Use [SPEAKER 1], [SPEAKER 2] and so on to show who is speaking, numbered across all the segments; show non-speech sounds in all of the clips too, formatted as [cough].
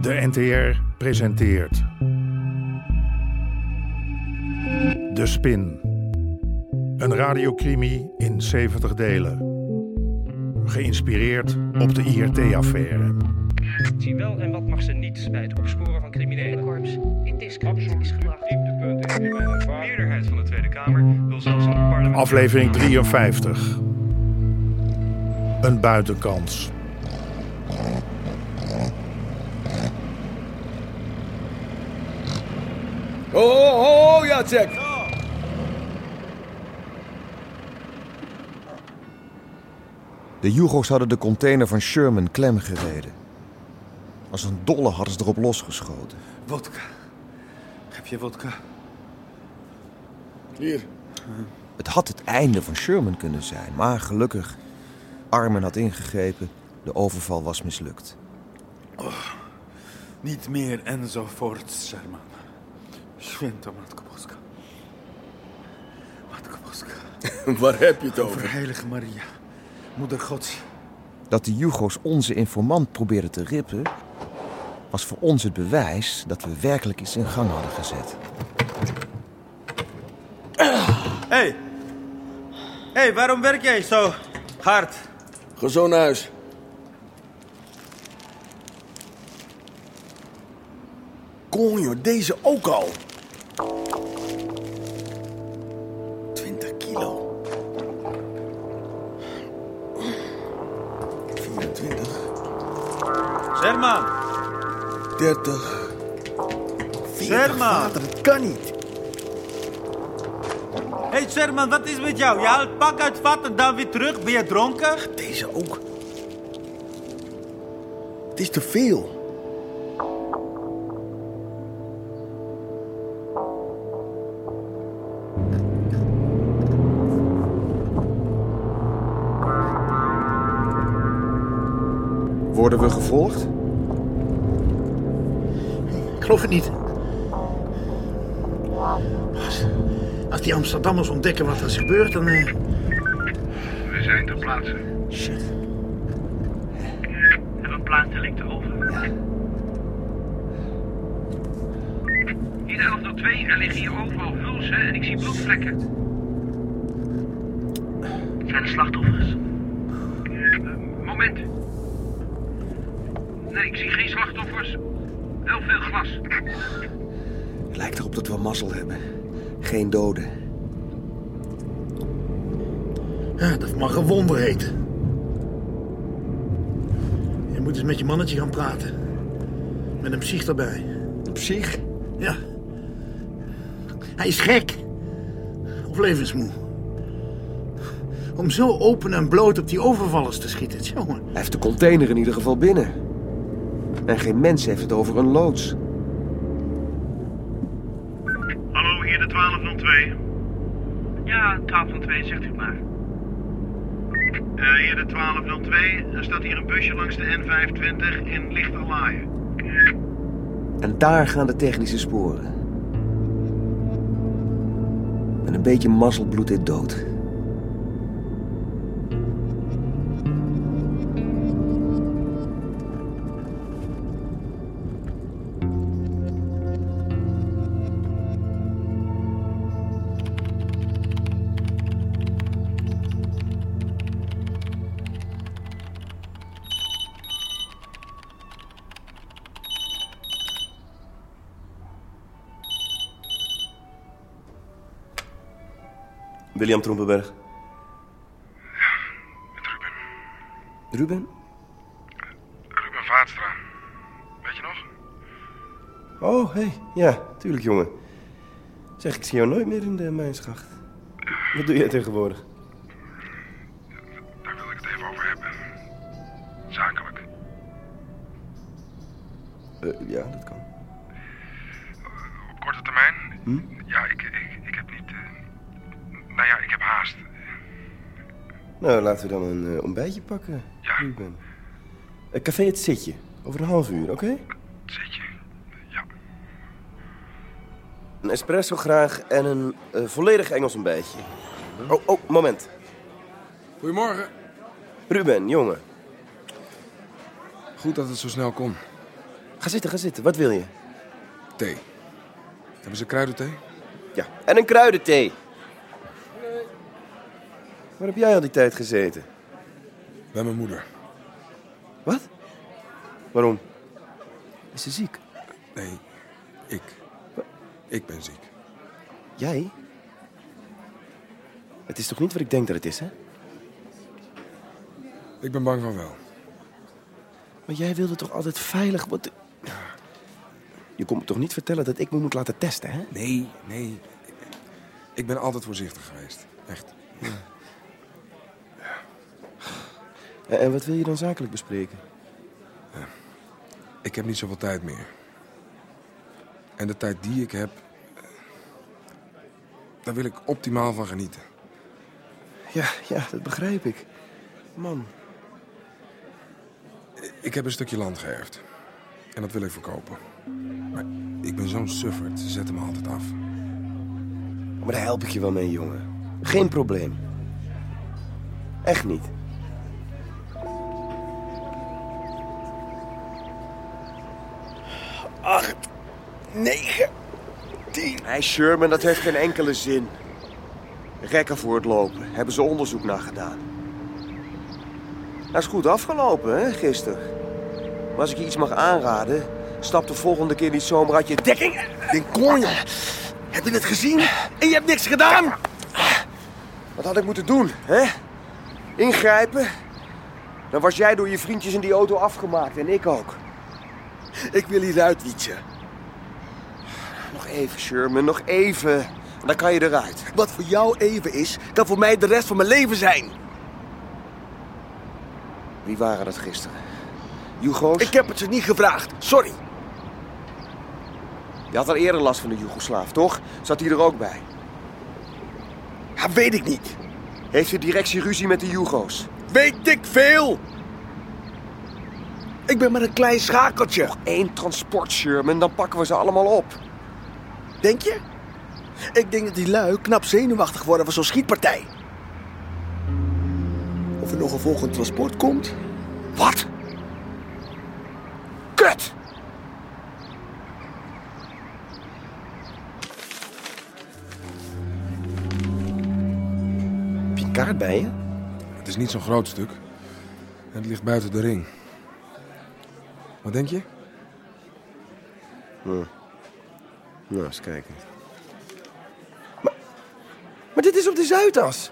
[SPEAKER 1] De NTR presenteert. De Spin. Een radiocrimi in 70 delen. Geïnspireerd op de IRT-affaire.
[SPEAKER 2] Wat Zie wel en wat mag ze niet bij het opsporen van criminelen.
[SPEAKER 3] Korps in discrediet is gebracht.
[SPEAKER 2] De meerderheid van de Tweede Kamer wil zelfs een parlement.
[SPEAKER 1] Aflevering 53. Een buitenkans.
[SPEAKER 4] Oh,
[SPEAKER 5] Ho, ho, ho, ho, Jacek!
[SPEAKER 6] De Jugos hadden de container van Sherman klemgereden. Als een dolle hadden ze erop losgeschoten.
[SPEAKER 5] Wodka. Heb je wodka?
[SPEAKER 6] Het had het einde van Sherman kunnen zijn, maar gelukkig. Armen had ingegrepen, de overval was mislukt.
[SPEAKER 5] Niet meer enzovoorts, Sherman. Święto, Matko Boska. Matko Boska.
[SPEAKER 4] [laughs] Waar heb je het over?
[SPEAKER 5] Verheilige Maria. Moeder Gods.
[SPEAKER 6] Dat de Jugos onze informant probeerden te rippen, was voor ons het bewijs dat we werkelijk iets in gang hadden gezet.
[SPEAKER 7] Hé, hey. hey, waarom werk jij zo hard?
[SPEAKER 4] Ga zo naar huis. Konjo, deze ook al. 20 kilo. 24,
[SPEAKER 7] Sherman,
[SPEAKER 4] 30. 40
[SPEAKER 7] Sherman.
[SPEAKER 4] vader, het kan niet.
[SPEAKER 7] hey Sherman, wat is met jou? Je haalt het pak uit het vat en dan weer terug. Ben je dronken?
[SPEAKER 4] Deze ook. Het is te veel.
[SPEAKER 6] Worden we gevolgd?
[SPEAKER 8] Ik geloof het niet. Als, als die Amsterdammers ontdekken wat er is gebeurd, dan... eh,
[SPEAKER 9] We zijn ter plaatse. Shit. Hebben we plaatsdelict over? Ja. Hier 11 tot 2, er liggen hier overal hulzen en ik zie bloedvlekken. Zijn er slachtoffers? moment. Nee, ik zie geen slachtoffers. Wel veel glas.
[SPEAKER 6] Het lijkt erop dat we mazzel hebben. Geen doden.
[SPEAKER 8] ja, dat mag een wonder heten. Je moet eens met je mannetje gaan praten. Met een psych erbij.
[SPEAKER 6] Op zich?
[SPEAKER 8] Ja. Hij is gek. Of levensmoe. Om zo open en bloot op die overvallers te schieten. Jongen,
[SPEAKER 6] Hij heeft de container in ieder geval binnen. En geen mens heeft het over een loods.
[SPEAKER 9] Hallo, hier de 1202. Ja, 1202, zegt u maar. Eh, hier de 1202. Er staat hier een busje langs de N520 in lichte laaien.
[SPEAKER 6] En daar gaan de technische sporen. Met een beetje mazzel bloedt dit dood.
[SPEAKER 4] William Trompenberg.
[SPEAKER 6] Ruben?
[SPEAKER 9] Ruben Vaatstra. Weet je nog?
[SPEAKER 4] Oh, hé. Hey. Ja, tuurlijk, jongen. Zeg, ik zie jou nooit meer in de mijnschacht. Wat doe jij tegenwoordig?
[SPEAKER 9] Daar wil ik het even over hebben. Zakelijk.
[SPEAKER 4] Eh, ja, dat kan.
[SPEAKER 9] Op korte termijn?
[SPEAKER 10] Hm?
[SPEAKER 9] Ja, ik, ik, ik heb niet... eh, nou ja, ik heb haast.
[SPEAKER 4] Nou, laten we dan een eh, ontbijtje pakken.
[SPEAKER 9] Ja.
[SPEAKER 4] Ruben. Eh, café Het Zitje. Over een half uur, oké?
[SPEAKER 9] Zit je? Ja.
[SPEAKER 4] Een espresso graag en een eh, volledig Engels ontbijtje. Oh, oh, moment.
[SPEAKER 10] Goedemorgen.
[SPEAKER 4] Ruben, jongen.
[SPEAKER 10] Goed dat het zo snel kon.
[SPEAKER 6] Ga zitten, ga zitten. Wat wil je?
[SPEAKER 10] Thee. Hebben ze kruidenthee?
[SPEAKER 6] Ja, en een kruidenthee. Waar heb jij al die tijd gezeten?
[SPEAKER 10] Bij mijn moeder.
[SPEAKER 6] Wat? Waarom? Is ze ziek?
[SPEAKER 10] Nee, ik. Ik ben ziek.
[SPEAKER 6] Jij? Het is toch niet wat ik denk dat het is, hè?
[SPEAKER 10] Ik ben bang van wel.
[SPEAKER 6] Maar jij wilde toch altijd veilig... Wat... de- Je komt me toch niet vertellen dat ik me moet laten testen, hè?
[SPEAKER 10] Nee, nee. Ik ben altijd voorzichtig geweest. Echt.
[SPEAKER 6] En- En wat wil je dan zakelijk bespreken?
[SPEAKER 10] Ik heb niet zoveel tijd meer. En de tijd die ik heb... eh, Daar wil ik optimaal van genieten.
[SPEAKER 6] Ja, ja, dat begrijp ik. Man,
[SPEAKER 10] Ik heb een stukje land geërfd. En dat wil ik verkopen. Maar ik ben zo'n sufferd. Ze zetten me altijd af.
[SPEAKER 6] maar daar help ik je wel mee, jongen. Geen probleem. Echt niet. Acht, negen, tien. Hé, Sherman, dat heeft geen enkele zin. Rekken voor het lopen. Hebben ze onderzoek naar gedaan. Dat is goed afgelopen, hè, gisteren. Maar als ik je iets mag aanraden... stap de volgende keer niet zomaar uit je dekking. Den konje. Heb je het gezien? En je hebt niks gedaan? Wat had ik moeten doen, hè? Ingrijpen? Dan was jij door je vriendjes in die auto afgemaakt en ik ook. Ik wil hieruit, Wietje. Nog even, Sherman, nog even. Dan kan je eruit.
[SPEAKER 11] Wat voor jou even is, kan voor mij de rest van mijn leven zijn.
[SPEAKER 6] Wie waren dat gisteren? Jugo's?
[SPEAKER 11] Ik heb het ze niet gevraagd, sorry.
[SPEAKER 6] Je had al eerder last van de Joegoslaaf, toch? Zat hij er ook bij?
[SPEAKER 11] Ja, weet ik niet.
[SPEAKER 6] Heeft de directie ruzie met de Jugo's?
[SPEAKER 11] Weet ik veel. Ik ben maar een klein schakeltje.
[SPEAKER 6] Eén transport, Sherman, dan pakken we ze allemaal op.
[SPEAKER 11] Denk je? Ik denk dat die lui knap zenuwachtig worden van zo'n schietpartij. Of er nog een volgend transport komt?
[SPEAKER 6] Wat? Kut! Heb je een kaart bij je?
[SPEAKER 10] Het is niet zo'n groot stuk. En het ligt buiten de ring. Wat denk je?
[SPEAKER 6] Nou, eens kijken. Maar, maar dit is op de Zuidas.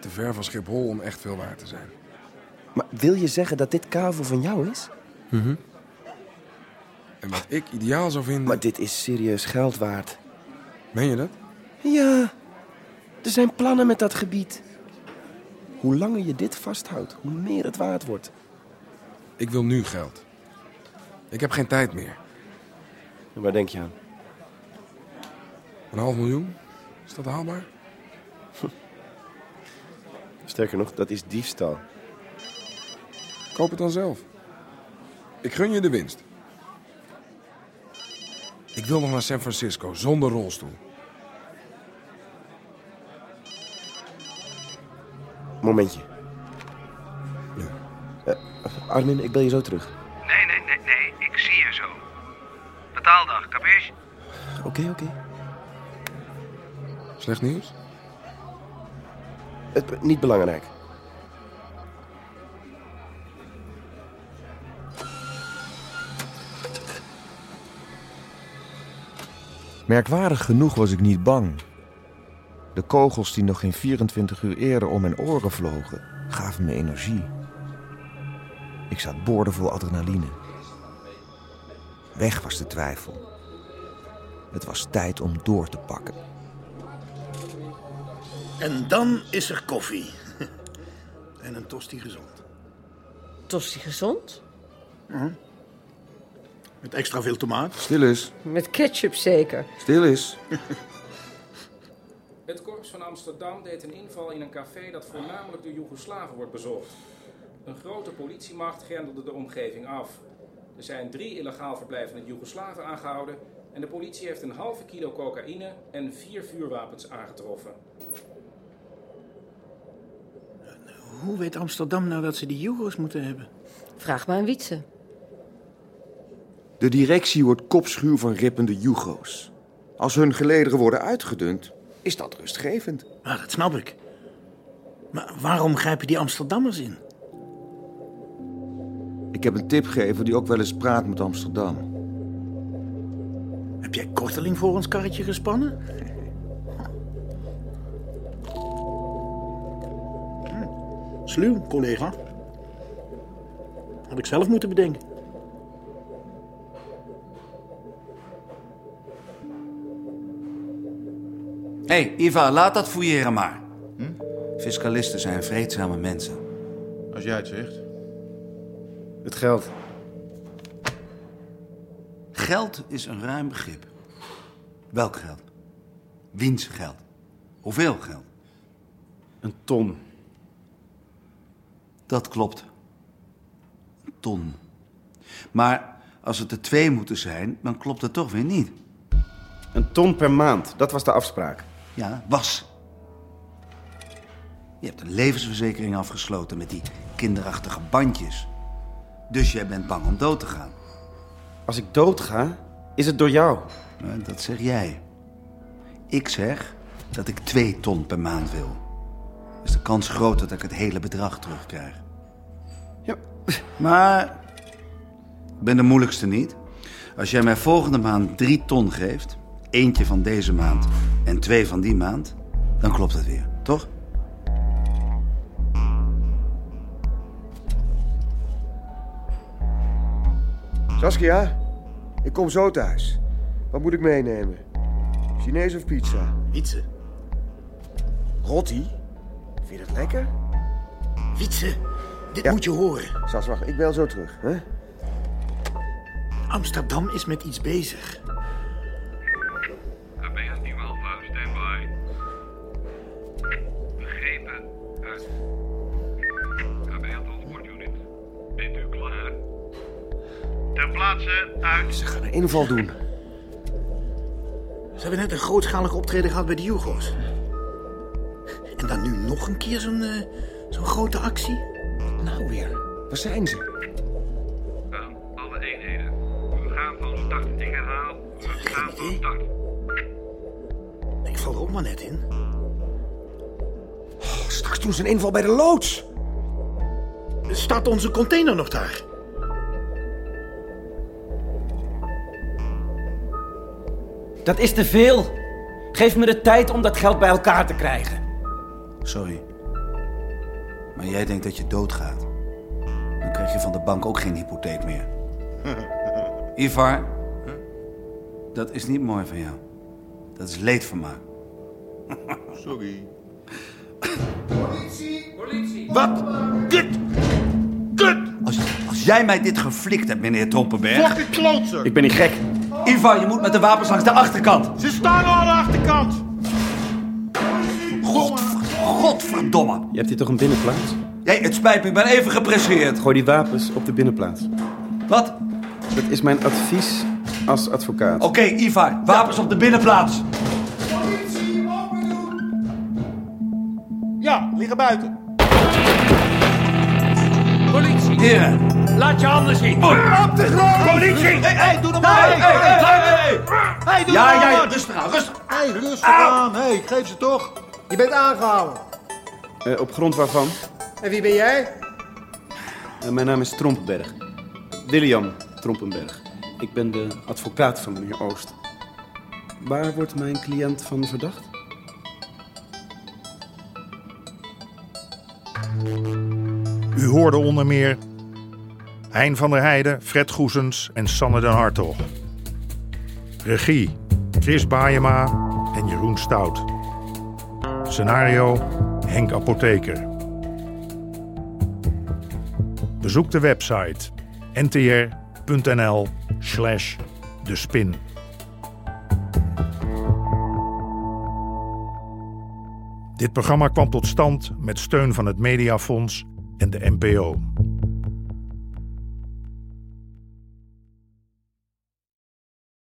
[SPEAKER 10] Te ver van Schiphol om echt veel waar te zijn.
[SPEAKER 6] Maar wil je zeggen dat dit kavel van jou is?
[SPEAKER 10] En wat ik ideaal zou vinden...
[SPEAKER 6] Maar dit is serieus geld waard.
[SPEAKER 10] Meen je dat?
[SPEAKER 6] Ja, er zijn plannen met dat gebied. Hoe langer je dit vasthoudt, hoe meer het waard wordt.
[SPEAKER 10] Ik wil nu geld. Ik heb geen tijd meer.
[SPEAKER 6] Waar denk je aan?
[SPEAKER 10] Een half miljoen? Is dat haalbaar?
[SPEAKER 6] Sterker nog, dat is diefstal.
[SPEAKER 10] Koop het dan zelf. Ik gun je de winst. Ik wil nog naar San Francisco, zonder rolstoel.
[SPEAKER 6] Momentje.
[SPEAKER 10] Ja.
[SPEAKER 6] Eh, Armin, ik bel je zo terug.
[SPEAKER 12] Nee, nee, nee, nee. Ik zie je zo. Betaaldag, capiche?
[SPEAKER 6] Oké, oké.
[SPEAKER 10] Slecht nieuws?
[SPEAKER 6] Het be- niet belangrijk.
[SPEAKER 4] Merkwaardig genoeg was ik niet bang. De kogels die nog geen 24 uur eerder om mijn oren vlogen, gaven me energie. Ik zat boordevol adrenaline. Weg was de twijfel. Het was tijd om door te pakken.
[SPEAKER 8] En dan is er koffie. [laughs] En een tosti gezond. Mhm.
[SPEAKER 13] Tosti gezond?
[SPEAKER 8] Met extra veel tomaat.
[SPEAKER 4] Stil is,
[SPEAKER 13] Met ketchup zeker.
[SPEAKER 4] stil is.
[SPEAKER 9] Het korps van Amsterdam deed een inval in een café dat voornamelijk door Joegoslaven wordt bezocht. Een grote politiemacht grendelde de omgeving af. Er zijn drie illegaal verblijvende Joegoslaven aangehouden en de politie heeft een halve kilo cocaïne en vier vuurwapens aangetroffen.
[SPEAKER 8] Hoe weet Amsterdam nou dat ze die Jugo's moeten hebben?
[SPEAKER 13] Vraag maar aan Wietse.
[SPEAKER 6] De directie wordt kopschuw van rippende Jugo's. Als hun gelederen worden uitgedund, is dat rustgevend.
[SPEAKER 8] Ja, Ah, dat snap ik. Maar waarom grijpen die Amsterdammers in?
[SPEAKER 6] Ik heb een tipgever die ook wel eens praat met Amsterdam.
[SPEAKER 8] Heb jij korteling voor ons karretje gespannen? Hm, Sluw, collega. Had ik zelf moeten bedenken.
[SPEAKER 14] Hé, hey, Iva, laat dat fouilleren maar. Hm? Fiscalisten zijn vreedzame mensen.
[SPEAKER 15] Als jij het zegt.
[SPEAKER 14] Het geld. Geld is een ruim begrip. Welk geld? Wiens geld? Hoeveel geld? Een ton. Dat klopt. Een ton. Maar als het er twee moeten zijn, dan klopt het toch weer niet.
[SPEAKER 16] Een ton per maand, dat was de afspraak.
[SPEAKER 14] Ja, was. Je hebt een levensverzekering afgesloten met die kinderachtige bandjes. Dus jij bent bang om dood te gaan.
[SPEAKER 16] Als ik doodga, is het door jou.
[SPEAKER 14] Nou, Dat zeg jij. Ik zeg dat ik twee ton per maand wil. Is de kans groot dat ik het hele bedrag terugkrijg. Ja. Maar ik ben de moeilijkste niet. Als jij mij volgende maand drie ton geeft, eentje van deze maand en twee van die maand, dan klopt het weer, toch?
[SPEAKER 4] Saskia, ik kom zo thuis. Wat moet ik meenemen? Chinees of pizza?
[SPEAKER 8] Wietse.
[SPEAKER 4] Rotti? Vind je dat lekker?
[SPEAKER 8] Wietse, dit moet je horen.
[SPEAKER 4] Sas, wacht, ik bel zo terug. Hè?
[SPEAKER 8] Amsterdam is met iets bezig.
[SPEAKER 9] KPS Team Alpha, standby. Begrepen, uit. KPS Transport Unit, bent u klaar? Ter plaatse, uit.
[SPEAKER 4] Ze gaan een inval doen.
[SPEAKER 8] Ze hebben net een grootschalig optreden gehad bij de Jugo's. En dan nu nog een keer zo'n eh, zo'n grote actie? Nou weer,
[SPEAKER 4] waar zijn ze?
[SPEAKER 9] Aan alle eenheden. We gaan van start. Ik herhaal, we gaan van start.
[SPEAKER 8] Ik val er ook maar net in.
[SPEAKER 4] Oh, Straks doen ze een inval bij de loods.
[SPEAKER 8] Staat onze container nog daar?
[SPEAKER 17] Dat is te veel. Geef me de tijd om dat geld bij elkaar te krijgen.
[SPEAKER 14] Sorry. Maar jij denkt dat je doodgaat. Dan krijg je van de bank ook geen
[SPEAKER 15] [laughs]
[SPEAKER 14] hypotheek meer. Ivar, dat is niet mooi van jou. Dat is leedvermaak.
[SPEAKER 15] [laughs] Sorry.
[SPEAKER 3] Politie! Politie!
[SPEAKER 14] Wat? Kut! Kut! Als, als jij mij dit geflikt hebt, meneer Trompenberg.
[SPEAKER 15] Fucking klootzak!
[SPEAKER 14] ben niet gek. Ivar, je moet met de wapens langs de achterkant.
[SPEAKER 15] Ze staan aan de achterkant!
[SPEAKER 14] Godverdomme.
[SPEAKER 16] Je hebt hier toch een binnenplaats?
[SPEAKER 14] Hé, het spijt me, ik ben even gepresseerd.
[SPEAKER 16] Gooi die wapens op de binnenplaats.
[SPEAKER 14] Wat?
[SPEAKER 16] Dat is mijn advies als advocaat.
[SPEAKER 15] Oh.
[SPEAKER 14] Oké, Ivar, wapens op de binnenplaats.
[SPEAKER 15] Ja, liggen buiten.
[SPEAKER 3] Politie!
[SPEAKER 14] Heren.
[SPEAKER 3] Laat je handen zien!
[SPEAKER 15] Op de grond! Politie! Hé, hé, doe normaal!
[SPEAKER 3] Hey, hey, hey,
[SPEAKER 15] hey, hey, doe
[SPEAKER 14] Ja,
[SPEAKER 15] normaal!
[SPEAKER 14] ja, ja, rustig aan, rustig
[SPEAKER 15] Hé, rustig aan. Hé, geef ze toch. Je bent aangehouden.
[SPEAKER 16] Eh, op grond waarvan?
[SPEAKER 15] En wie ben jij?
[SPEAKER 16] Eh, mijn naam is Trompenberg. William Trompenberg. Ik ben de advocaat van meneer Oost. Waar wordt mijn cliënt van verdacht?
[SPEAKER 1] U hoorde onder meer Hein van der Heijden, Fred Goesens en Sanne den Hartog. Regie Chris Baayema en Jeroen Stout. Scenario Henk Apotheker. Bezoek de website ntr.nl slash de spin. Dit programma kwam tot stand met steun van het Mediafonds en de NPO.